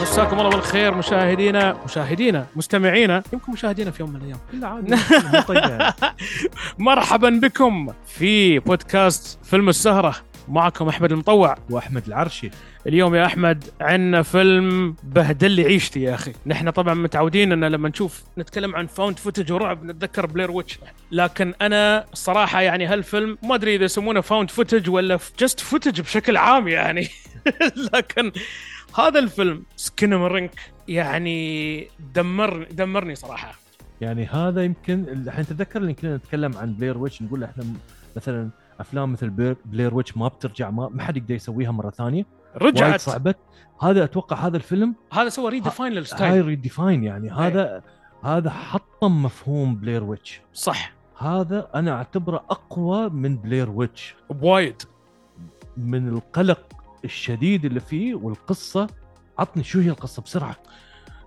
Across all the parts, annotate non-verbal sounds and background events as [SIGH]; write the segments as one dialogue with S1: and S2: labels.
S1: مساكم الله بالخير مشاهدينا مشاهدينا مستمعينا يمكن مشاهدينا في يوم من الايام
S2: لا عادي مو طيب.
S1: مرحبا بكم في بودكاست فيلم السهره معكم احمد المطوع
S2: واحمد العرشي
S1: اليوم يا احمد عندنا فيلم بهدل لي عيشتي يا اخي نحن طبعا متعودين ان لما نشوف نتكلم عن فاوند فوتج ورعب نتذكر بلير ويتش لكن انا الصراحه يعني هالفيلم ما ادري اذا يسمونه فاوند فوتج ولا جست فوتج بشكل عام يعني [LAUGHS] لكن هذا الفيلم سكنمرنك يعني دمر دمرني صراحه
S2: يعني هذا يمكن الحين تتذكر اللي كنا نتكلم عن بلير ويتش نقول احنا مثلا افلام مثل بلير, بلير ويتش ما بترجع ما, ما حد يقدر يسويها مره ثانيه وايد
S1: رجعت
S2: صعبت هذا اتوقع هذا الفيلم
S1: هذا سوى ريديفاين للستايل
S2: هاي ريديفاين يعني هذا هذا حطم مفهوم بلير ويتش
S1: صح
S2: هذا انا اعتبره اقوى من بلير ويتش
S1: بوايد
S2: من القلق الشديد اللي فيه والقصه عطني شو هي القصه بسرعه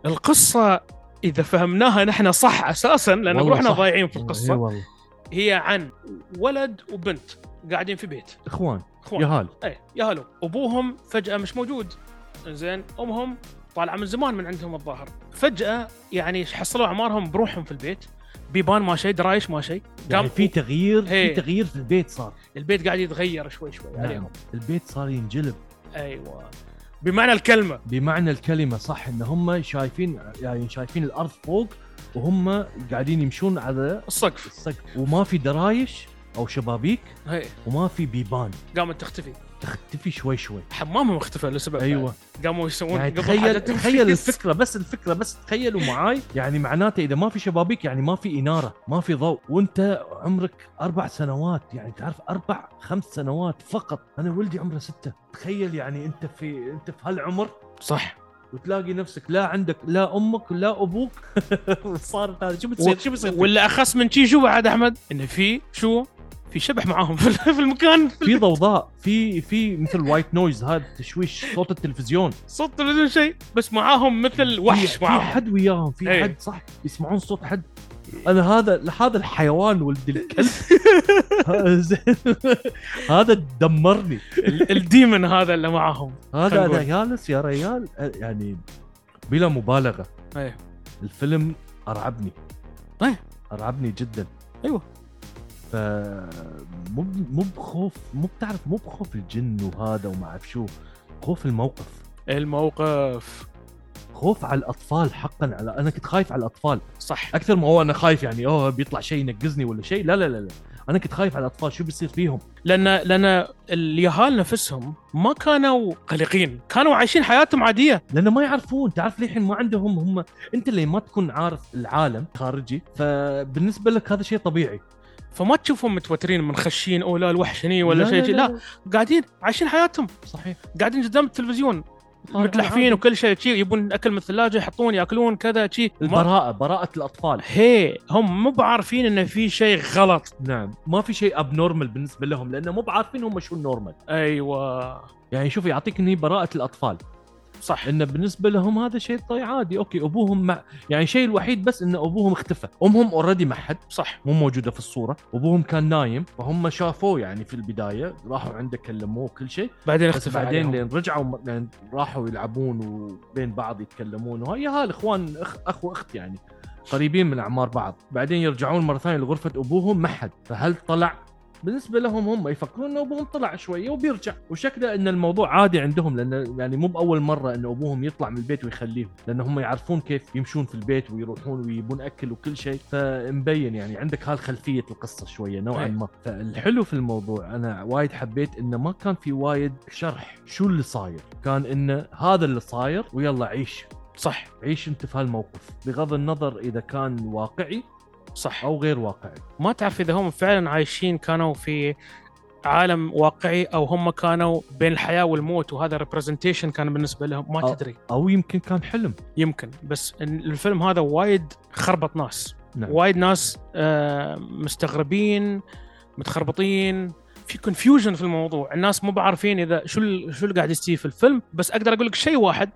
S1: القصه اذا فهمناها نحن صح اساسا لان
S2: والله
S1: روحنا
S2: صح.
S1: ضايعين في
S2: إي
S1: القصه
S2: إيه والله
S1: هي عن ولد وبنت قاعدين في بيت
S2: اخوان
S1: اخوان
S2: يهال
S1: اي يا هلو ابوهم فجاه مش موجود زين امهم طالعه من زمان من عندهم الظاهر فجاه يعني حصلوا اعمارهم بروحهم في البيت بيبان ما شيء درايش ما شيء
S2: يعني في تغيير في
S1: إيه.
S2: تغيير في البيت صار
S1: البيت قاعد يتغير شوي شوي عليهم
S2: نعم البيت صار ينجلب
S1: ايوه بمعنى الكلمه
S2: بمعنى الكلمه صح ان هم شايفين يعني شايفين الارض فوق وهم قاعدين يمشون على
S1: السقف
S2: السقف وما في درايش او شبابيك
S1: هي
S2: وما في بيبان
S1: قامت تختفي
S2: تختفي شوي شوي
S1: حمامهم اختفى لسبب
S2: ايوه
S1: قاموا يسوون
S2: يعني
S1: قبل
S2: تخيل
S1: حاجتهم. [LAUGHS]
S2: تخيل الفكره بس الفكره بس تخيلوا معاي يعني معناته اذا ما في شبابيك يعني ما في اناره ما في ضوء وانت عمرك اربع سنوات يعني تعرف اربع خمس سنوات فقط انا ولدي عمره سته تخيل يعني انت في انت في هالعمر
S1: صح
S2: وتلاقي نفسك لا عندك لا امك لا ابوك [LAUGHS] وصارت هذا شو
S1: بتصير؟
S2: شو بتصير؟
S1: ولا اخس من شي شو بعد احمد انه في شو في شبح معاهم [LAUGHS] في في المكان
S2: في ضوضاء في في مثل وايت نويز هذا تشويش صوت التلفزيون
S1: صوت بدون شيء بس معاهم مثل وحش
S2: في- في
S1: معاهم
S2: حد وياهم في
S1: إيه.
S2: حد صح يسمعون صوت حد انا هذا هذا الحيوان
S1: [LAUGHS]
S2: ولد الكلب ه- زين. هذا دمرني
S1: ال- الديمن هذا اللي معاهم
S2: هذا
S1: خلنا
S2: انا
S1: نقول.
S2: جالس يا ريال أه، يعني بلا مبالغه
S1: ايه
S2: الفيلم ارعبني
S1: إيه.
S2: ارعبني جدا
S1: أيوة.
S2: ف مو ب- مو بخوف مو بتعرف مو بخوف الجن وهذا وما اعرف شو خوف الموقف
S1: الموقف
S2: خوف على الاطفال حقا على انا كنت خايف على الاطفال
S1: صح
S2: اكثر ما هو انا خايف يعني اوه بيطلع شيء ينقزني ولا شيء لا لا لا لا انا كنت خايف على الاطفال شو بيصير فيهم
S1: لان لان اليهال نفسهم ما كانوا قلقين كانوا عايشين حياتهم عاديه
S2: لانه ما يعرفون تعرف للحين ما عندهم هم انت اللي ما تكون عارف العالم خارجي فبالنسبه لك هذا شيء طبيعي
S1: فما تشوفهم متوترين منخشين او لا الوحش هني إيه، ولا شيء لا, لا, قاعدين عايشين حياتهم
S2: صحيح
S1: قاعدين قدام التلفزيون
S2: آه، عادي.
S1: متلحفين وكل شيء شي يبون اكل من الثلاجه يحطون ياكلون كذا شي ما-
S2: البراءه براءه الاطفال
S1: هي هم مو بعارفين ان في شيء غلط
S2: نعم ما في شيء ابنورمال بالنسبه لهم لانه مو بعارفين هم شو النورمال
S1: ايوه
S2: يعني شوف يعطيك إن هي براءه الاطفال
S1: صح
S2: انه بالنسبه لهم هذا شيء طيب عادي اوكي ابوهم مع يعني الشيء الوحيد بس ان ابوهم اختفى امهم اوريدي ما حد
S1: صح
S2: مو موجوده في الصوره وابوهم كان نايم فهم شافوه يعني في البدايه راحوا عنده كلموه وكل شيء
S1: بعدين
S2: بس
S1: اختفى
S2: بعدين
S1: عليهم.
S2: لين رجعوا لين راحوا يلعبون وبين بعض يتكلمون وهي هالاخوان اخ اخ واخت يعني قريبين من اعمار بعض بعدين يرجعون مره ثانيه لغرفه ابوهم ما حد فهل طلع بالنسبه لهم هم يفكرون ان ابوهم طلع شويه وبيرجع وشكله ان الموضوع عادي عندهم لان يعني مو باول مره ان ابوهم يطلع من البيت ويخليهم لان هم يعرفون كيف يمشون في البيت ويروحون ويجيبون اكل وكل شيء فمبين يعني عندك هالخلفيه القصه شويه نوعا
S1: أي.
S2: ما فالحلو في الموضوع انا وايد حبيت انه ما كان في وايد شرح شو اللي صاير كان انه هذا اللي صاير ويلا عيش
S1: صح
S2: عيش انت في هالموقف بغض النظر اذا كان واقعي
S1: صح
S2: او غير واقعي
S1: ما تعرف اذا هم فعلا عايشين كانوا في عالم واقعي او هم كانوا بين الحياه والموت وهذا ريبرزنتيشن كان بالنسبه لهم ما
S2: أه.
S1: تدري
S2: او يمكن كان حلم
S1: يمكن بس إن الفيلم هذا وايد خربط ناس
S2: نعم.
S1: وايد ناس آه، مستغربين متخربطين في كونفيوجن في الموضوع الناس مو بعارفين اذا شو ال- شو اللي قاعد يستوي في الفيلم بس اقدر اقول لك شيء واحد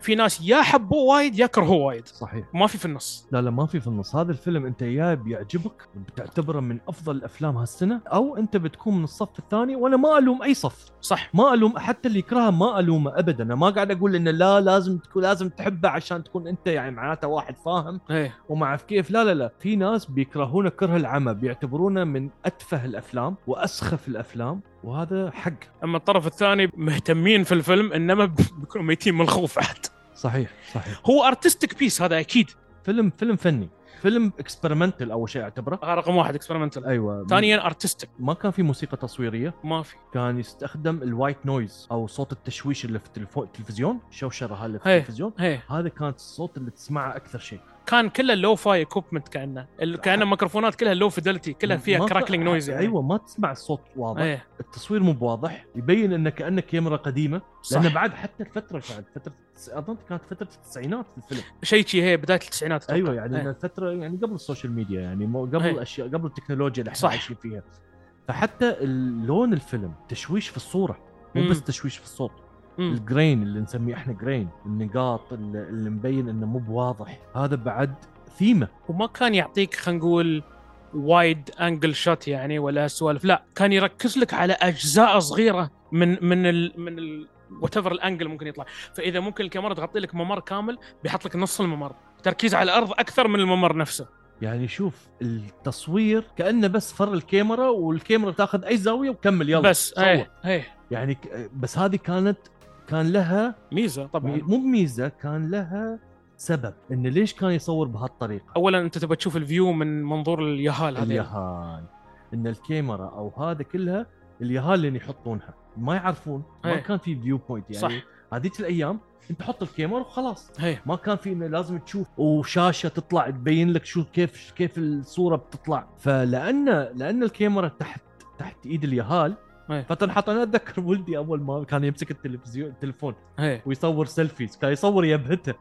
S1: في ناس يا حبوه وايد يا كرهوه وايد
S2: صحيح
S1: ما في في النص
S2: لا لا ما في في النص هذا الفيلم انت يا بيعجبك بتعتبره من افضل الافلام هالسنه او انت بتكون من الصف الثاني وانا ما الوم اي صف
S1: صح
S2: ما الوم حتى اللي يكرهه ما الومه ابدا انا ما قاعد اقول انه لا لازم تكون لازم تحبه عشان تكون انت يعني معناته واحد فاهم
S1: ايه
S2: وما اعرف كيف لا لا لا في ناس بيكرهونه كره العمى بيعتبرونه من اتفه الافلام واسخف الافلام وهذا حق
S1: اما الطرف الثاني مهتمين في الفيلم انما بيكونوا ميتين من الخوف عاد
S2: صحيح صحيح
S1: هو ارتستيك بيس هذا اكيد
S2: فيلم فيلم فني فيلم اكسبيرمنتال اول شيء اعتبره
S1: هذا رقم واحد اكسبيرمنتال
S2: ايوه
S1: ثانيا ارتستيك
S2: ما كان في موسيقى تصويريه
S1: ما في
S2: كان يستخدم الوايت نويز او صوت التشويش اللي في التلفو- التلفزيون الشوشره هاي اللي في
S1: هي.
S2: التلفزيون
S1: ايه
S2: هذا كان الصوت اللي تسمعه اكثر شيء
S1: كان كله لو فاي اكوبمنت كانه ال- كانه ميكروفونات كلها لو فيدلتي كلها
S2: ما
S1: فيها
S2: ت-
S1: كراكلينج نويز يعني
S2: ايوه ما تسمع الصوت واضح
S1: ايه
S2: التصوير مو بواضح يبين انه كانه كاميرا قديمه
S1: صح
S2: لان بعد حتى الفتره بعد فتره التس- اظن كانت فتره التسعينات في الفيلم
S1: شيء شي هي بدايه التسعينات أتوقع.
S2: ايوه يعني
S1: إيه.
S2: أيه. الفتره يعني قبل السوشيال ميديا يعني مو- قبل
S1: إيه.
S2: الاشياء قبل التكنولوجيا اللي احنا
S1: صح.
S2: عايشين فيها فحتى لون الفيلم تشويش في الصوره مو
S1: مم.
S2: بس تشويش في الصوت
S1: مم.
S2: الجرين اللي نسميه احنا جرين النقاط اللي اللي مبين انه مو بواضح هذا بعد ثيمه
S1: وما كان يعطيك خلينا نقول وايد انجل شوت يعني ولا هالسوالف لا كان يركز لك على اجزاء صغيره من من ال من ال وات ايفر الانجل ممكن يطلع فاذا ممكن الكاميرا تغطي لك ممر كامل بيحط لك نص الممر تركيز على الارض اكثر من الممر نفسه
S2: يعني شوف التصوير كانه بس فر الكاميرا والكاميرا تاخذ اي زاويه وكمل يلا
S1: بس
S2: صور.
S1: ايه ايه
S2: يعني ك- بس هذه كانت كان لها
S1: ميزه طبعا
S2: مي- مو بميزه كان لها سبب انه ليش كان يصور بهالطريقه
S1: اولا انت تبى تشوف الفيو من منظور اليهال هذا
S2: اليهال ان الكاميرا او هذا كلها اليهال اللي يحطونها ما يعرفون ما
S1: أي.
S2: كان في فيو بوينت يعني
S1: إيه. صح
S2: هذيك الايام انت حط الكاميرا وخلاص
S1: ايه
S2: ما كان في انه لازم تشوف وشاشه تطلع تبين لك شو كيف كيف الصوره بتطلع فلان لان الكاميرا تحت تحت ايد اليهال
S1: إيه.
S2: فتنحط انا اتذكر ولدي اول ما كان يمسك التلفزيون التليفون
S1: ايه
S2: ويصور سيلفيز كان يصور
S1: [LAUGHS]
S2: يبهته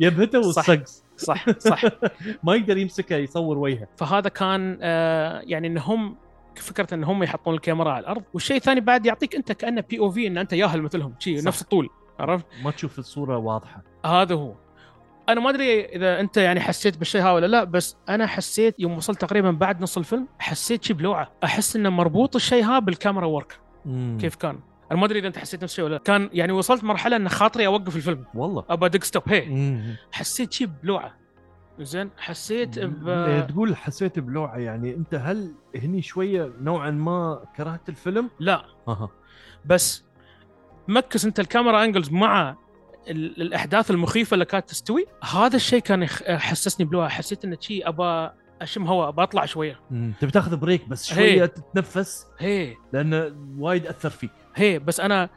S2: يبهته
S1: صح.
S2: والصقص
S1: صح صح
S2: [LAUGHS]
S1: [LAUGHS]
S2: ما يقدر يمسكه يصور وجهه
S1: فهذا كان آه، يعني ان هم فكره ان هم يحطون الكاميرا على الارض والشيء الثاني بعد يعطيك انت كانه بي او في ان انت ياهل مثلهم شي
S2: صح.
S1: نفس الطول عرفت
S2: ما تشوف الصوره واضحه
S1: هذا هو انا ما ادري اذا انت يعني حسيت بالشيء هذا ولا لا بس انا حسيت يوم وصلت تقريبا بعد نص الفيلم حسيت شي بلوعه احس انه مربوط الشيء هذا بالكاميرا ورك كيف كان انا ما ادري اذا انت حسيت نفس الشيء ولا لا كان يعني وصلت مرحله ان خاطري اوقف الفيلم
S2: والله
S1: ابى ادق ستوب هي
S2: مم.
S1: حسيت شي بلوعه زين حسيت ب
S2: إيه، تقول حسيت بلوعه يعني انت هل هني شويه نوعا ما كرهت الفيلم؟
S1: لا
S2: اها
S1: بس مكس انت الكاميرا انجلز مع ال- الاحداث المخيفه اللي كانت تستوي هذا الشيء كان يخ- حسسني بلوها حسيت ان شيء ابى اشم هواء بطلع شويه
S2: تبي تاخذ بريك بس
S1: هي.
S2: شويه تتنفس
S1: هي
S2: لانه وايد اثر فيك
S1: هي بس انا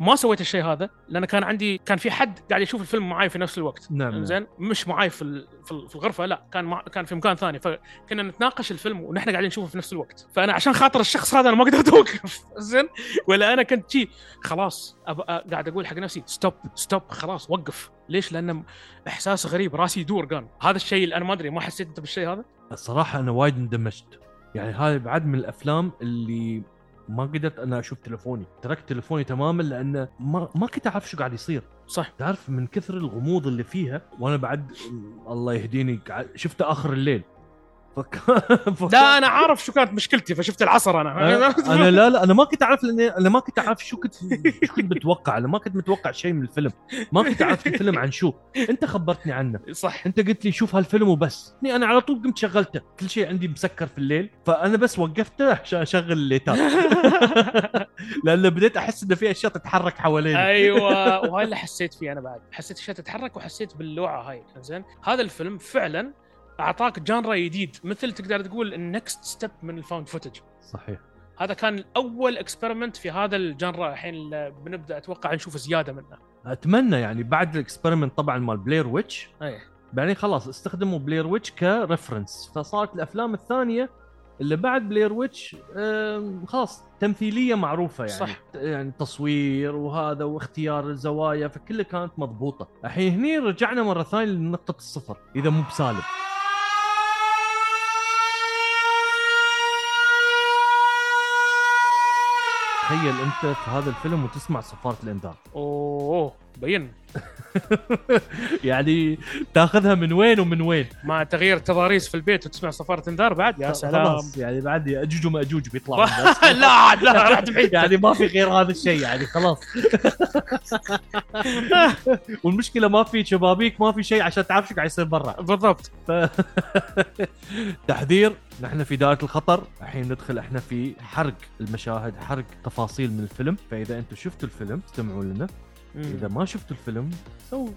S1: ما سويت الشيء هذا لان كان عندي كان في حد قاعد يشوف الفيلم معاي في نفس الوقت
S2: نعم، نعم.
S1: زين مش معاي في ال- في ال- في الغرفه لا كان مع كان في مكان ثاني فكنا نتناقش الفيلم ونحن قاعدين نشوفه في نفس الوقت فانا عشان خاطر الشخص هذا انا ما قدرت اوقف [LAUGHS] زين ولا انا كنت شي خلاص أب... أ- قاعد اقول حق نفسي ستوب ستوب خلاص وقف ليش لان احساس غريب راسي يدور قام هذا الشيء اللي انا ما ادري ما حسيت انت بالشيء هذا
S2: الصراحه انا وايد اندمجت يعني هذا بعد من الافلام اللي ما قدرت انا اشوف تلفوني تركت تلفوني تماما لانه ما, ما كنت اعرف شو قاعد يصير
S1: صح
S2: تعرف من كثر الغموض اللي فيها وانا بعد الله يهديني قاعد- شفته اخر الليل [LAUGHS] فكان
S1: لا انا عارف شو كانت مشكلتي فشفت العصر انا
S2: انا أه؟ لا لا انا ما كنت اعرف لاني انا ما كنت اعرف شو كنت شو كنت متوقع انا ما كنت متوقع شيء من الفيلم ما كنت اعرف الفيلم عن شو انت خبرتني عنه
S1: [LAUGHS] صح
S2: انت قلت لي شوف هالفيلم وبس يعني انا على طول قمت شغلته كل شيء عندي مسكر في الليل فانا بس وقفته عشان اشغل الليتات لان بديت احس انه في اشياء تتحرك حواليني
S1: ايوه وهاي اللي حسيت فيه انا بعد حسيت اشياء تتحرك وحسيت باللوعه هاي زين هذا الفيلم فعلا اعطاك جانرا جديد مثل تقدر تقول النكست ستيب من الفاوند فوتج
S2: صحيح
S1: هذا كان اول اكسبيرمنت في هذا الجانرا الحين اللي بنبدا اتوقع نشوف زياده منه
S2: اتمنى يعني بعد الاكسبيرمنت طبعا مال بلير ويتش
S1: ايه
S2: بعدين خلاص استخدموا بلير ويتش كرفرنس فصارت الافلام الثانيه اللي بعد بلير ويتش آم، خلاص تمثيليه معروفه يعني
S1: صح.
S2: يعني تصوير وهذا واختيار الزوايا فكله كانت مضبوطه الحين هني رجعنا مره ثانيه لنقطه الصفر اذا مو بسالب تخيل انت في هذا الفيلم وتسمع صفاره الانذار
S1: اوه بين
S2: [LAUGHS] يعني تاخذها من وين ومن وين
S1: مع تغيير تضاريس في البيت وتسمع صفارة انذار بعد يا سلام
S2: خلاص يعني بعد اجوج وماجوج بيطلعوا من بس.
S1: [LAUGHS] لا عاد لا
S2: [LAUGHS]
S1: رحت بعيد
S2: يعني ما في غير هذا الشيء يعني [LAUGHS] خلاص والمشكله ما في شبابيك ما في شيء عشان تعرف شو قاعد يصير برا
S1: بالضبط
S2: تحذير نحن في دائره الخطر الحين ندخل احنا في حرق المشاهد حرق تفاصيل من الفيلم فاذا انتم شفتوا الفيلم استمعوا لنا اذا ما شفتوا الفيلم سووا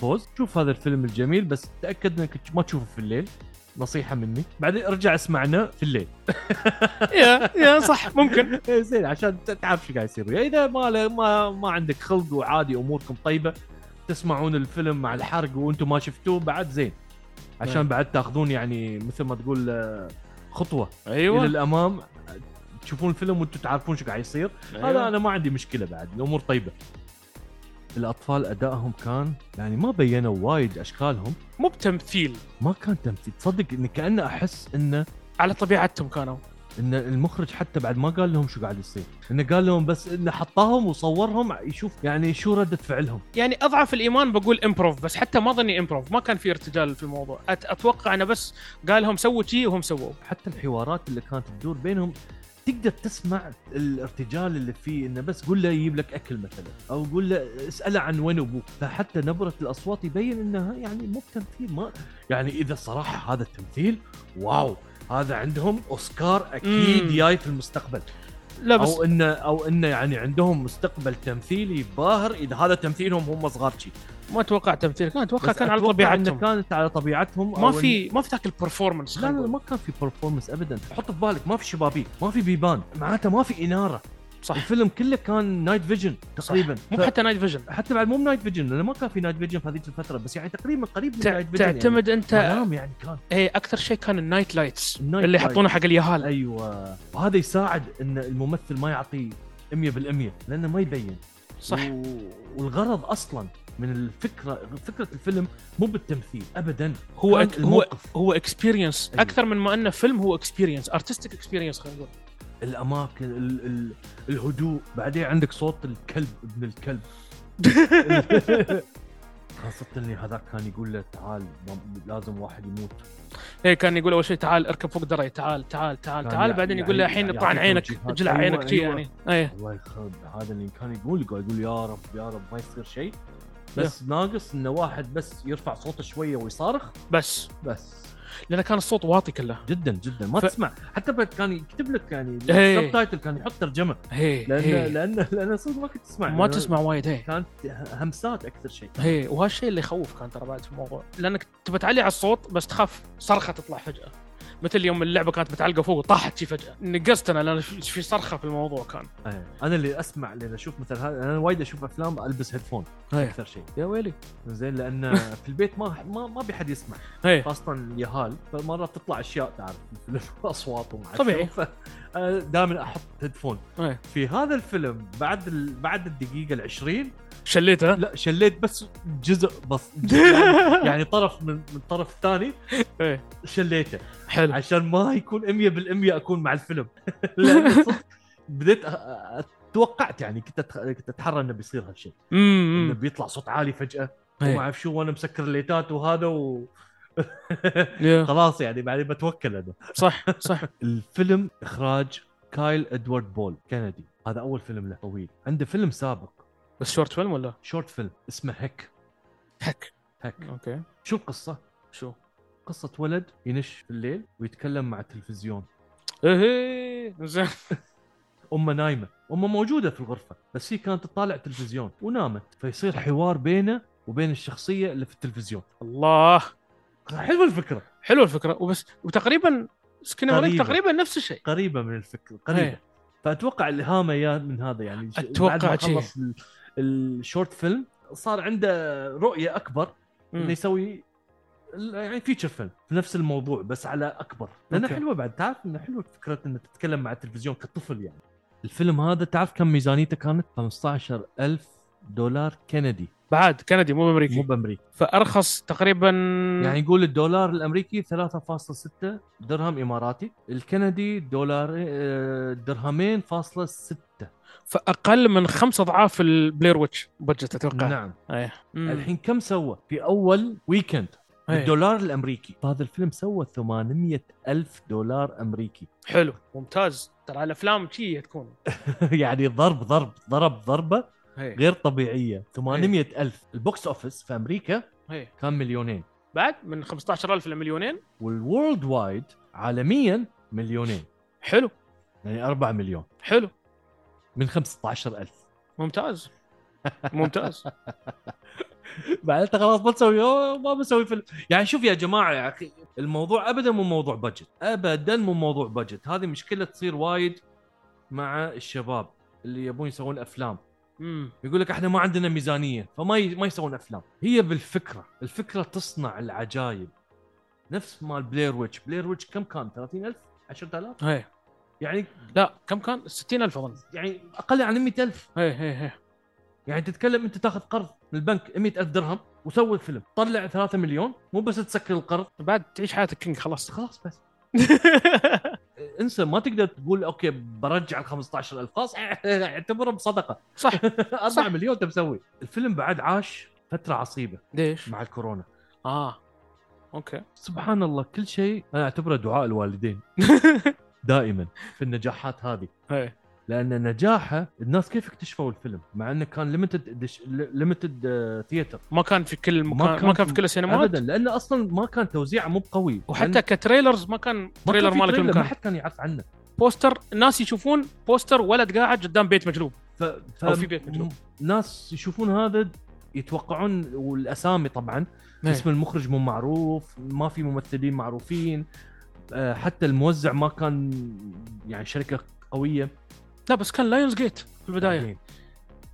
S2: بوز شوف هذا الفيلم الجميل بس تاكد انك ما تشوفه في الليل نصيحه مني بعدين ارجع اسمعنا في الليل
S1: يا يا صح ممكن
S2: إيه زين عشان ت- تعرف شو قاعد يصير ويا. اذا ما ل- ما ما عندك خلق وعادي اموركم طيبه تسمعون الفيلم مع الحرق وانتم ما شفتوه بعد زين عشان
S1: نعم.
S2: بعد تاخذون يعني مثل ما تقول آه، خطوه الى
S1: ايوه
S2: الامام آه، تشوفون الفيلم وانتم تعرفون شو قاعد يصير
S1: أيوة.
S2: هذا انا ما عندي مشكله بعد الامور طيبه الاطفال ادائهم كان يعني ما بينوا وايد اشكالهم
S1: مو بتمثيل
S2: ما كان تمثيل تصدق ان كانه احس انه
S1: على طبيعتهم كانوا
S2: ان المخرج حتى بعد ما قال لهم شو قاعد يصير انه قال لهم بس انه حطاهم وصورهم يشوف يعني شو ردة فعلهم
S1: يعني اضعف الايمان بقول امبروف بس حتى ما ظني امبروف ما كان في ارتجال في الموضوع أت- اتوقع انه بس قالهم سووا شيء وهم سووا
S2: حتى الحوارات اللي كانت تدور بينهم تقدر تسمع الارتجال اللي فيه انه بس قول له يجيب لك اكل مثلا او قول له اساله عن وين ابوك فحتى نبره الاصوات يبين انها يعني مو بتمثيل ما يعني اذا صراحه هذا التمثيل واو هذا عندهم اوسكار اكيد
S1: مم.
S2: جاي في المستقبل
S1: لا بس
S2: او انه او انه يعني عندهم مستقبل تمثيلي باهر اذا هذا تمثيلهم هم صغار شي
S1: ما اتوقع تمثيل كان اتوقع
S2: بس
S1: كان على
S2: أتوقع
S1: طبيعتهم
S2: إن كانت على طبيعتهم
S1: ما
S2: أو
S1: في ما في ذاك البرفورمانس
S2: إن- لا لا ما كان في برفورمنس ابدا حط في بالك ما في شبابيك ما في بيبان معناته ما في اناره
S1: صح.
S2: الفيلم كله كان نايت فيجن تقريبا
S1: مو
S2: ف-
S1: حتى نايت فيجن
S2: حتى بعد مو نايت فيجن لانه ما كان في نايت فيجن في هذيك الفتره بس يعني تقريبا قريب من
S1: تع-
S2: نايت فيجن
S1: تعتمد انت
S2: يعني. منام يعني كان
S1: ايه اكثر شيء كان النايت لايتس
S2: النايت
S1: اللي
S2: لايت.
S1: يحطونه حق اليهال
S2: ايوه وهذا يساعد ان الممثل ما يعطي 100% لانه ما يبين
S1: صح
S2: و- والغرض اصلا من الفكره فكره الفيلم مو بالتمثيل ابدا
S1: هو
S2: كان
S1: أك- هو
S2: الموقف
S1: هو اكسبيرينس
S2: أيوة.
S1: اكثر من ما انه فيلم هو اكسبيرينس ارتستيك اكسبيرينس خلينا نقول
S2: الاماكن ال ال الهدوء بعدين عندك صوت الكلب ابن
S1: [LAUGHS]
S2: الكلب خاصة اني هذاك كان يقول له تعال ما- لازم واحد يموت
S1: ايه كان يقول اول شيء تعال اركب فوق دري تعال تعال تعال
S2: كان
S1: تعال
S2: يع-
S1: بعدين
S2: يعني
S1: يقول له الحين
S2: يعطيك
S1: طعن عينك
S2: توجيهات.
S1: اجلع
S2: أيوة،
S1: عينك شي
S2: أيوة.
S1: يعني ايه
S2: الله يخرب هذا اللي كان يقول قاعد يقول يا رب يا رب ما يصير شيء بس ناقص انه واحد بس يرفع صوته شويه ويصارخ
S1: بس
S2: بس
S1: لان كان الصوت واطي كله
S2: جدا جدا ما
S1: ف-
S2: ف... تسمع حتى بعد كان يكتب لك يعني
S1: إيه.
S2: السبتايتل كان يحط ترجمه
S1: هي
S2: لان
S1: هي.
S2: لان لان صدق ما كنت تسمع
S1: ما
S2: لأن
S1: تسمع وايد هي
S2: كانت همسات اكثر شيء
S1: هي وهالشيء اللي يخوف كان ترى بعد في الموضوع لانك تبى تعلي على الصوت بس تخاف صرخه تطلع فجاه مثل يوم اللعبه كانت متعلقه فوق وطاحت شي فجاه نقزت انا لان في في صرخه في الموضوع كان
S2: أيه. انا اللي اسمع اللي اشوف مثل هذا انا وايد اشوف افلام البس هيدفون
S1: هي
S2: اكثر شيء
S1: يا ويلي
S2: زين لان [LAUGHS] في البيت ما ما, ما بيحد يسمع
S1: هي
S2: خاصه اليهال فمرات تطلع اشياء تعرف في الفيلم اصوات وما أعرف
S1: طبيعي.
S2: شو. ف- أنا دائما احط هيدفون
S1: أيه.
S2: في هذا الفيلم بعد ال... بعد الدقيقه ال20
S1: شليتها
S2: لا شليت بس جزء بس يعني طرف من من طرف ثاني
S1: إيه.
S2: شليته
S1: [LAUGHS] حلو
S2: عشان ما يكون 100% اكون مع الفيلم [LAUGHS] لأن صدق بديت أ- أ- توقعت يعني كنت أتخ- كنت اتحرى انه بيصير هالشيء انه
S1: امم
S2: بيطلع صوت عالي فجاه وما
S1: إيه.
S2: اعرف شو وانا مسكر الليتات وهذا و...
S1: يا.
S2: خلاص يعني بعدين بتوكل انا
S1: صح صح
S2: الفيلم اخراج كايل ادوارد بول كندي هذا اول فيلم له طويل عنده فيلم سابق
S1: بس شورت فيلم ولا
S2: شورت فيلم اسمه هيك
S1: حك
S2: هيك
S1: اوكي
S2: شو القصه
S1: شو
S2: قصة ولد ينش في الليل ويتكلم مع التلفزيون
S1: ايه زين
S2: أمه نايمة أمه موجودة في الغرفة بس هي كانت تطالع تلفزيون ونامت فيصير حوار بينه وبين الشخصية اللي في التلفزيون
S1: الله
S2: حلوة الفكرة
S1: حلوه الفكره وبس وتقريبا سكن مريك
S2: قريبة.
S1: تقريبا نفس الشيء
S2: قريبة من الفكرة قريبة
S1: إيه.
S2: فأتوقع الإهامة يا من هذا يعني ش-
S1: أتوقع
S2: بعد ما
S1: شي.
S2: خلص ال- الشورت فيلم صار عنده رؤية أكبر انه
S1: مم.
S2: يسوي ال- يعني فيتشر فيلم في نفس الموضوع بس على اكبر لانه
S1: أوكي.
S2: حلوه بعد تعرف انه حلوه فكره انه تتكلم مع التلفزيون كطفل يعني الفيلم هذا تعرف كم ميزانيته كانت 15000 دولار كندي
S1: بعد كندي مو
S2: مو
S1: امريكي
S2: بامريكا
S1: فارخص تقريبا
S2: يعني يقول الدولار الامريكي 3.6 درهم اماراتي الكندي دولار آه، درهمين فاصلة ستة
S1: فاقل من خمس اضعاف البلاير ويتش بجت اتوقع
S2: نعم
S1: ايه مم.
S2: الحين كم سوى في اول ويكند
S1: إيه.
S2: الدولار الامريكي فهذا الفيلم سوى 800 الف دولار امريكي
S1: حلو ممتاز ترى الافلام شي تكون
S2: [LAUGHS]
S1: إيه.
S2: يعني ضرب ضرب ضرب ضربه
S1: هي.
S2: غير طبيعيه 800 الف البوكس اوفيس في امريكا
S1: هي.
S2: كان مليونين
S1: إيه. بعد من 15000 لمليونين
S2: والورلد وايد عالميا مليونين
S1: حلو
S2: يعني 4 مليون
S1: حلو
S2: من 15 [LAUGHS] الف
S1: ممتاز
S2: [LAUGHS]
S1: معناته
S2: معناتها خلاص بتسوي أوه، ما بسوي فيلم يعني شوف يا جماعه يا اخي الموضوع ابدا مو موضوع بجت ابدا مو موضوع بجت هذه مشكله تصير وايد مع الشباب اللي يبون يسوون افلام
S1: امم
S2: يقول لك احنا ما عندنا ميزانيه فما ي... ما يسوون افلام هي بالفكره الفكره تصنع العجايب نفس مال بلير ويتش بلير ويتش كم كان 30000 10000
S1: هي
S2: يعني
S1: إيه. لا كم كان 60000 اظن
S2: يعني اقل عن 100000
S1: هي هي هي
S2: يعني تتكلم انت تاخذ قرض من البنك 100000 درهم وسوي فيلم طلع 3 مليون مو بس تسكر القرض
S1: بعد تعيش حياتك كينج
S2: [LAUGHS]
S1: خلاص
S2: خلاص بس انسى ما تقدر تقول اوكي برجع ال 15000 خلاص [LAUGHS] اعتبره بصدقه
S1: صح
S2: [LAUGHS] 4 مليون انت مسوي الفيلم بعد عاش فتره عصيبه
S1: ليش؟
S2: مع الكورونا
S1: اه اوكي
S2: سبحان الله كل شيء انا اعتبره دعاء
S1: [LAUGHS]
S2: الوالدين دائما في النجاحات هذه
S1: هي
S2: لان نجاحه الناس كيف اكتشفوا الفيلم مع انه كان ليمتد ليمتد ثياتر
S1: ما كان في كل
S2: ما
S1: مكان
S2: كان
S1: ما كان في
S2: في-
S1: كل السينمات
S2: ابدا لانه اصلا ما كان توزيعه مو قوي
S1: وحتى كتريلرز ما كان تريلر
S2: تريلر
S1: مالك
S2: ما
S1: المكان
S2: حد كان يعرف عنه
S1: بوستر الناس يشوفون بوستر ولد قاعد قدام بيت مجلوب
S2: ف... ف...
S1: أو في بيت مجنون.
S2: ناس يشوفون هذا يتوقعون والاسامي طبعا
S1: إيه.
S2: اسم المخرج مو معروف ما في ممثلين معروفين آه، حتى الموزع ما كان يعني شركه قويه
S1: لا بس كان لايونز جيت في البدايه
S2: بعدين,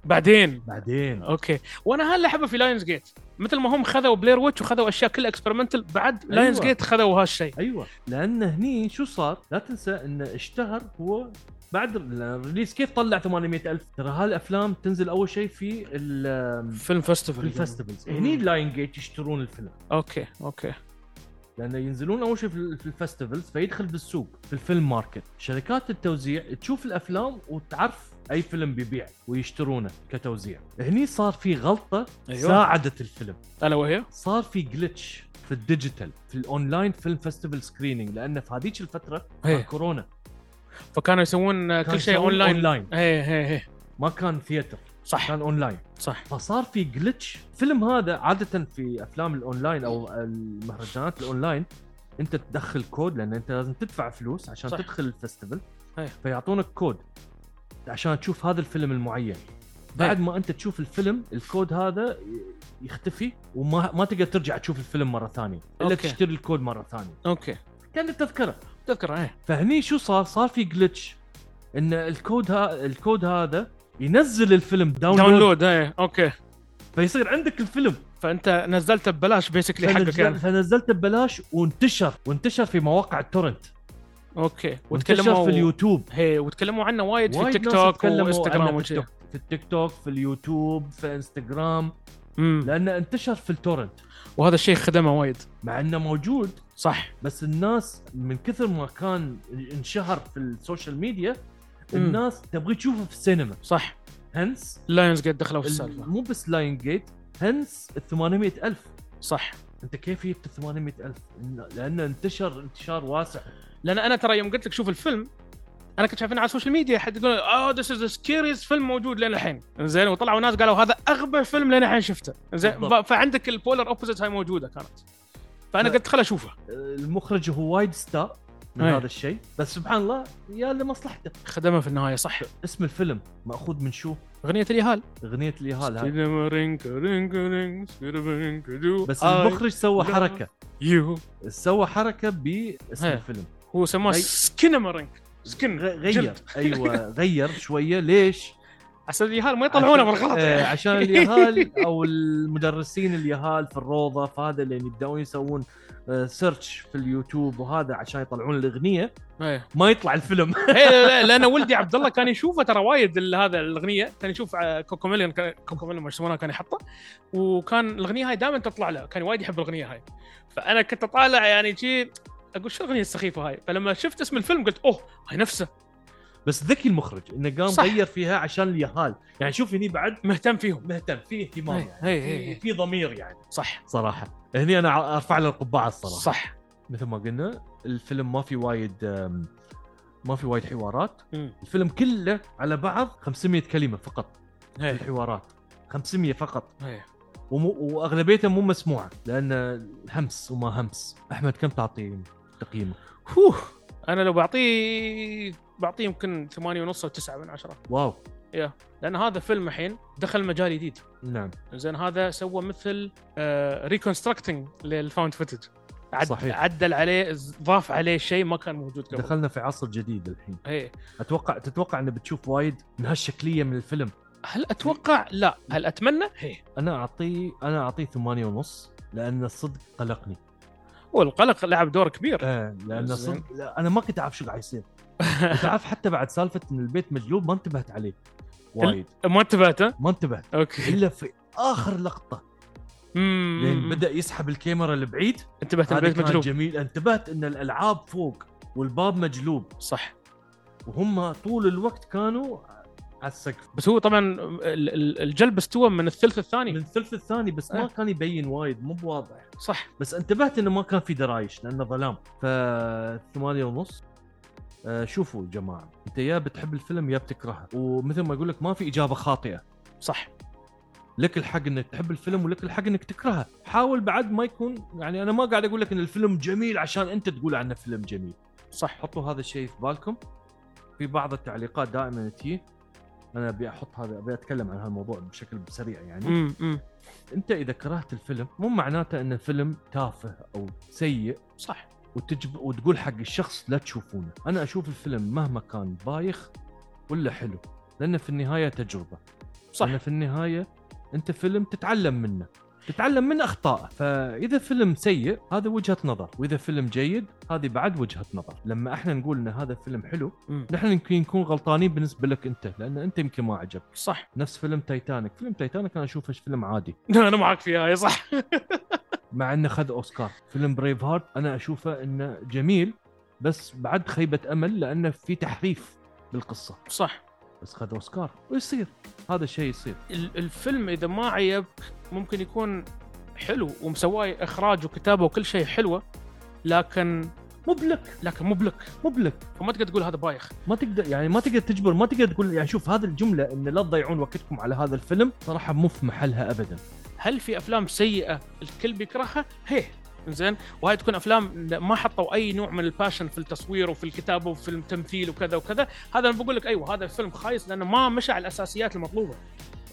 S1: بعدين
S2: بعدين.
S1: اوكي وانا هلا حبه في لايونز جيت مثل ما هم خذوا بلير ويتش وخذوا اشياء كلها اكسبيرمنتال بعد
S2: أيوة.
S1: لايونز جيت خذوا هالشيء
S2: ايوه لان هني شو صار لا تنسى انه اشتهر هو بعد الريليز كيف طلع 800 الف ترى هالافلام تنزل اول شيء في ال-
S1: فيلم
S2: في
S1: فيستيفال
S2: الفستيفالز
S1: مم.
S2: هني لاين جيت يشترون الفيلم
S1: اوكي اوكي
S2: لانه ينزلون اول شيء في في الفستيفالز فيدخل بالسوق في الفيلم ماركت شركات التوزيع تشوف الافلام وتعرف اي فيلم بيبيع ويشترونه كتوزيع هني صار في غلطه
S1: أيوة.
S2: أيوة. ساعدت الفيلم
S1: الا وهي
S2: صار في جلتش في الديجيتال في الاونلاين فيلم فيستيفال سكريننج لان في هذيك الفتره كان
S1: هي.
S2: كورونا
S1: فكانوا يسوون
S2: كان
S1: كل شيء
S2: إيه. يسوون
S1: اونلاين
S2: اونلاين
S1: ايه ايه ايه
S2: ما كان ثياتر
S1: صح
S2: كان اونلاين
S1: صح
S2: فصار في جلتش فيلم هذا عاده في افلام الاونلاين او المهرجانات الاونلاين انت تدخل كود لان انت لازم تدفع فلوس عشان
S1: صح.
S2: صح. تدخل الفستيفال
S1: أي.
S2: فيعطونك كود عشان تشوف هذا الفيلم المعين بعد ما انت تشوف الفيلم الكود هذا يختفي وما ما تقدر ترجع تشوف الفيلم مره ثانيه الا
S1: أوكي.
S2: تشتري الكود مره ثانيه
S1: اوكي
S2: كان التذكره
S1: تذكر ايه
S2: فهني شو صار؟ صار في جلتش ان الكود ها الكود هذا ينزل الفيلم داونلود, داونلود.
S1: داونلود ايه اوكي
S2: فيصير عندك الفيلم
S1: فانت نزلته ببلاش بيسكلي حقك
S2: فنزل...
S1: يعني
S2: فنزلته ببلاش وانتشر وانتشر في مواقع التورنت
S1: اوكي
S2: وانتشر
S1: وتكلموا
S2: في اليوتيوب
S1: هي وتكلموا عنه وايد في
S2: وايد
S1: تيك
S2: ناس
S1: توك
S2: تكلموا
S1: وانستغرام
S2: عنه
S1: وكذا
S2: في التيك توك- في التيك توك في اليوتيوب في انستغرام
S1: أمم.
S2: لانه انتشر في التورنت
S1: وهذا الشيء خدمه وايد
S2: مع انه موجود
S1: صح
S2: بس الناس من كثر ما كان انشهر في السوشيال ميديا
S1: مم.
S2: الناس تبغى تشوفه في السينما
S1: صح
S2: هنس
S1: لايونز قد دخلوا في
S2: ال-
S1: السالفه
S2: مو بس لاين جيت هنس ال 800 ألف
S1: صح
S2: انت كيف جبت 800 ألف لانه انتشر انتشار واسع
S1: لان انا ترى يوم قلت لك شوف الفيلم انا كنت شايفينه على السوشيال ميديا حد يقول اه ذس از سكيريز فيلم موجود لين الحين زين وطلعوا ناس قالوا هذا اغبى فيلم لين الحين شفته زين
S2: بالضبط.
S1: فعندك البولر اوبوزيت هاي موجوده كانت فانا
S2: ف-
S1: قلت خل اشوفه
S2: المخرج هو وايد ستار من
S1: أي.
S2: هذا الشيء بس سبحان الله يا لمصلحته
S1: خدمه في النهايه صح
S2: اسم الفيلم ماخوذ من شو
S1: اغنيه اليهال
S2: اغنيه الاهال هاي
S1: رينك رينك رينك رينك آه، رينك
S2: بس
S1: I
S2: المخرج سوى
S1: love
S2: حركه
S1: you.
S2: سوى حركه باسم
S1: أي.
S2: الفيلم
S1: هو سماه
S2: غي-
S1: سكينما رينك سكن
S2: غ- غير
S1: جلد.
S2: ايوه غير شويه ليش
S1: عسى اليهال ما يطلعونه
S2: عشان-
S1: بالغلط
S2: آه، عشان اليهال او المدرسين اليهال في الروضه فهذا اللي يبداون يسوون سيرش في اليوتيوب وهذا عشان يطلعون الاغنيه
S1: [LAUGHS] إيه.
S2: ما يطلع الفيلم [LAUGHS]
S1: إيه، لا- لا، لان ولدي عبد الله كان يشوفه ترى وايد ال- هذا الاغنيه كان يشوف آه، كوكوميليون كان- كوكوميليون ما يسمونها كان يحطه وكان الاغنيه هاي دائما تطلع له كان وايد يحب الاغنيه هاي فانا كنت اطالع يعني شي اقول شو الاغنيه السخيفه هاي فلما شفت اسم الفيلم قلت اوه هاي نفسه
S2: بس ذكي المخرج انه قام
S1: صح.
S2: غير فيها عشان اليهال يعني شوف هني بعد
S1: مهتم فيهم
S2: مهتم فيه اهتمام
S1: إيه،
S2: يعني
S1: إيه،
S2: في-
S1: إيه.
S2: في ضمير يعني
S1: صح
S2: صراحه هني انا ارفع له القبعه الصراحه
S1: صح
S2: مثل ما قلنا الفيلم ما في وايد أم، ما في وايد حوارات
S1: مم.
S2: الفيلم كله على بعض 500 كلمه فقط
S1: إيه.
S2: الحوارات 500 فقط
S1: إيه.
S2: ومو واغلبيتها مو مسموعه لان همس وما همس احمد كم تعطي تقييمك
S1: هوه. انا لو بعطيه بعطيه يمكن ثمانية ونص او تسعة من عشرة
S2: واو
S1: لان هذا فيلم الحين دخل مجال جديد
S2: نعم
S1: زين هذا سوى مثل آه، ريكونستركتنج للفاوند فوتج
S2: صحيح.
S1: عدل عليه ز- ضاف عليه شيء ما كان موجود قبل
S2: دخلنا في عصر جديد الحين
S1: ايه
S2: اتوقع تتوقع انه بتشوف وايد من هالشكليه من الفيلم
S1: هل اتوقع لا هل اتمنى ايه
S2: انا اعطيه انا اعطيه ثمانية ونص لان الصدق قلقني
S1: والقلق لعب دور كبير
S2: آه لان
S1: زين.
S2: الصدق لا، انا ما كنت اعرف شو قاعد يصير كنت اعرف حتى بعد سالفه ان البيت مجلوب ما انتبهت عليه وايد
S1: ما انتبهت ها؟
S2: ما انتبهت
S1: اوكي
S2: الا في اخر لقطه
S1: مم.
S2: لين بدا يسحب الكاميرا لبعيد
S1: انتبهت
S2: هذا
S1: البيت
S2: كان
S1: مجلوب
S2: جميل انتبهت ان الالعاب فوق والباب مجلوب
S1: صح
S2: وهم طول الوقت كانوا على السقف
S1: بس هو طبعا ال- ال- الجلب استوى من الثلث
S2: من
S1: الثاني
S2: الثلث الثاني بس ما
S1: آه.
S2: كان يبين وايد مو بواضح
S1: صح
S2: بس انتبهت انه ما كان في درايش لانه ظلام ف 8 ونص آه، شوفوا يا جماعه انت يا بتحب الفيلم يا بتكرهه ومثل ما اقول لك ما في اجابه خاطئه
S1: صح
S2: لك الحق انك تحب الفيلم ولك الحق انك تكرهه حاول بعد ما يكون يعني انا ما قاعد اقول لك ان الفيلم جميل عشان انت تقول عنه فيلم جميل
S1: صح
S2: حطوا هذا الشيء في بالكم في بعض التعليقات دائما تجي انا ابي احط هذا ابي اتكلم عن هالموضوع بشكل سريع يعني
S1: مم. مم.
S2: انت اذا كرهت الفيلم مو معناته ان الفيلم تافه او سيء
S1: صح
S2: وتجب وتقول حق الشخص لا تشوفونه انا اشوف الفيلم مهما كان بايخ ولا حلو لانه في النهايه تجربه
S1: صح
S2: لأنه في النهايه انت فيلم تتعلم منه تتعلم من اخطائه فاذا فيلم سيء هذا وجهه نظر واذا فيلم جيد هذه بعد وجهه نظر لما احنا نقول ان هذا فيلم حلو
S1: مم.
S2: نحن يمكن نكون غلطانين بالنسبه لك انت لان انت يمكن ما عجب
S1: صح
S2: نفس فيلم تايتانيك فيلم تايتانيك انا اشوفه فيلم عادي
S1: انا معك فيها يا صح
S2: مع انه خذ اوسكار فيلم بريف هارت انا اشوفه انه جميل بس بعد خيبه امل لانه في تحريف بالقصه
S1: صح
S2: بس خذ اوسكار ويصير هذا الشيء يصير
S1: ال- الفيلم اذا ما عيب ممكن يكون حلو ومسواه اخراج وكتابه وكل شيء حلوه لكن
S2: مبلك
S1: لكن مبلك
S2: مبلك
S1: فما تقدر تقول هذا بايخ
S2: ما تقدر يعني ما تقدر تجبر ما تقدر تقول يعني شوف هذه الجمله ان لا تضيعون وقتكم على هذا الفيلم صراحه مو في محلها ابدا
S1: هل في افلام سيئه الكل بيكرهها؟ هي زين وهاي تكون افلام ما حطوا اي نوع من الباشن في التصوير وفي الكتابه وفي التمثيل وكذا وكذا هذا انا بقول لك ايوه هذا الفيلم خايس لانه ما مشى على الاساسيات المطلوبه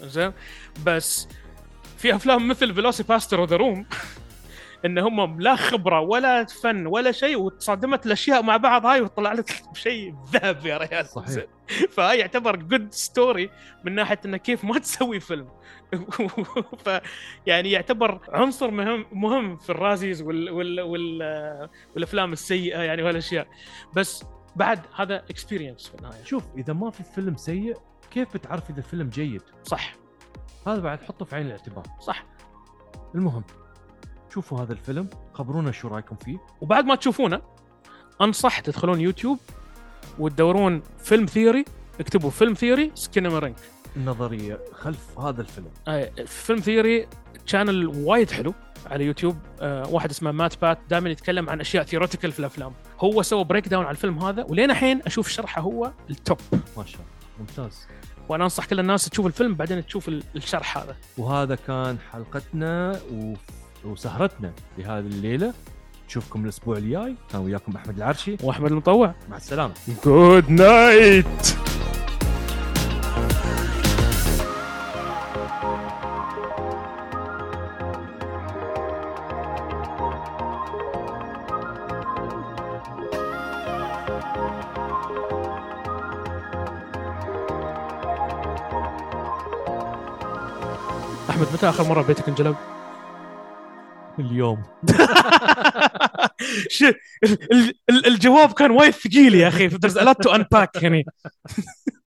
S1: زين بس في افلام مثل فيلوسي باستر وذا روم [LAUGHS] ان هم لا خبره ولا فن ولا شيء وتصادمت الاشياء مع بعض هاي وطلع لك [LAUGHS] شيء ذهب يا ريال
S2: صحيح.
S1: زين. فهاي يعتبر جود ستوري من ناحيه انه كيف ما [LAUGHS] تسوي فيلم ف يعني يعتبر عنصر مهم مهم في الرازيز وال وال وال والافلام السيئه يعني وهالاشياء بس بعد هذا اكسبيرينس في النهايه
S2: شوف اذا ما في فيلم سيء كيف بتعرف اذا الفيلم جيد
S1: صح
S2: هذا بعد حطه في عين الاعتبار
S1: صح
S2: المهم شوفوا هذا الفيلم خبرونا شو رايكم فيه
S1: وبعد ما تشوفونه انصح تدخلون يوتيوب وتدورون فيلم ثيوري اكتبوا فيلم ثيوري سكينما رينك
S2: النظريه خلف هذا الفيلم
S1: آه، فيلم ثيوري شانل وايد حلو على يوتيوب آه، واحد اسمه مات بات دائما يتكلم عن اشياء ثيوريتيكال في الافلام هو سوى بريك داون على الفيلم هذا ولين الحين اشوف شرحه هو التوب
S2: ما شاء الله ممتاز
S1: وانا انصح كل الناس تشوف الفيلم بعدين تشوف ال- الشرح هذا
S2: وهذا كان حلقتنا و... وسهرتنا لهذه الليله نشوفكم الاسبوع الجاي كان وياكم احمد العرشي
S1: واحمد المطوع
S2: مع السلامه
S1: جود نايت احمد متى اخر مره بيتك انجلب؟
S2: اليوم
S1: ش- ال- ال- الجواب كان وايد ثقيل يا اخي فذيرز ا لوت تو انباك يعني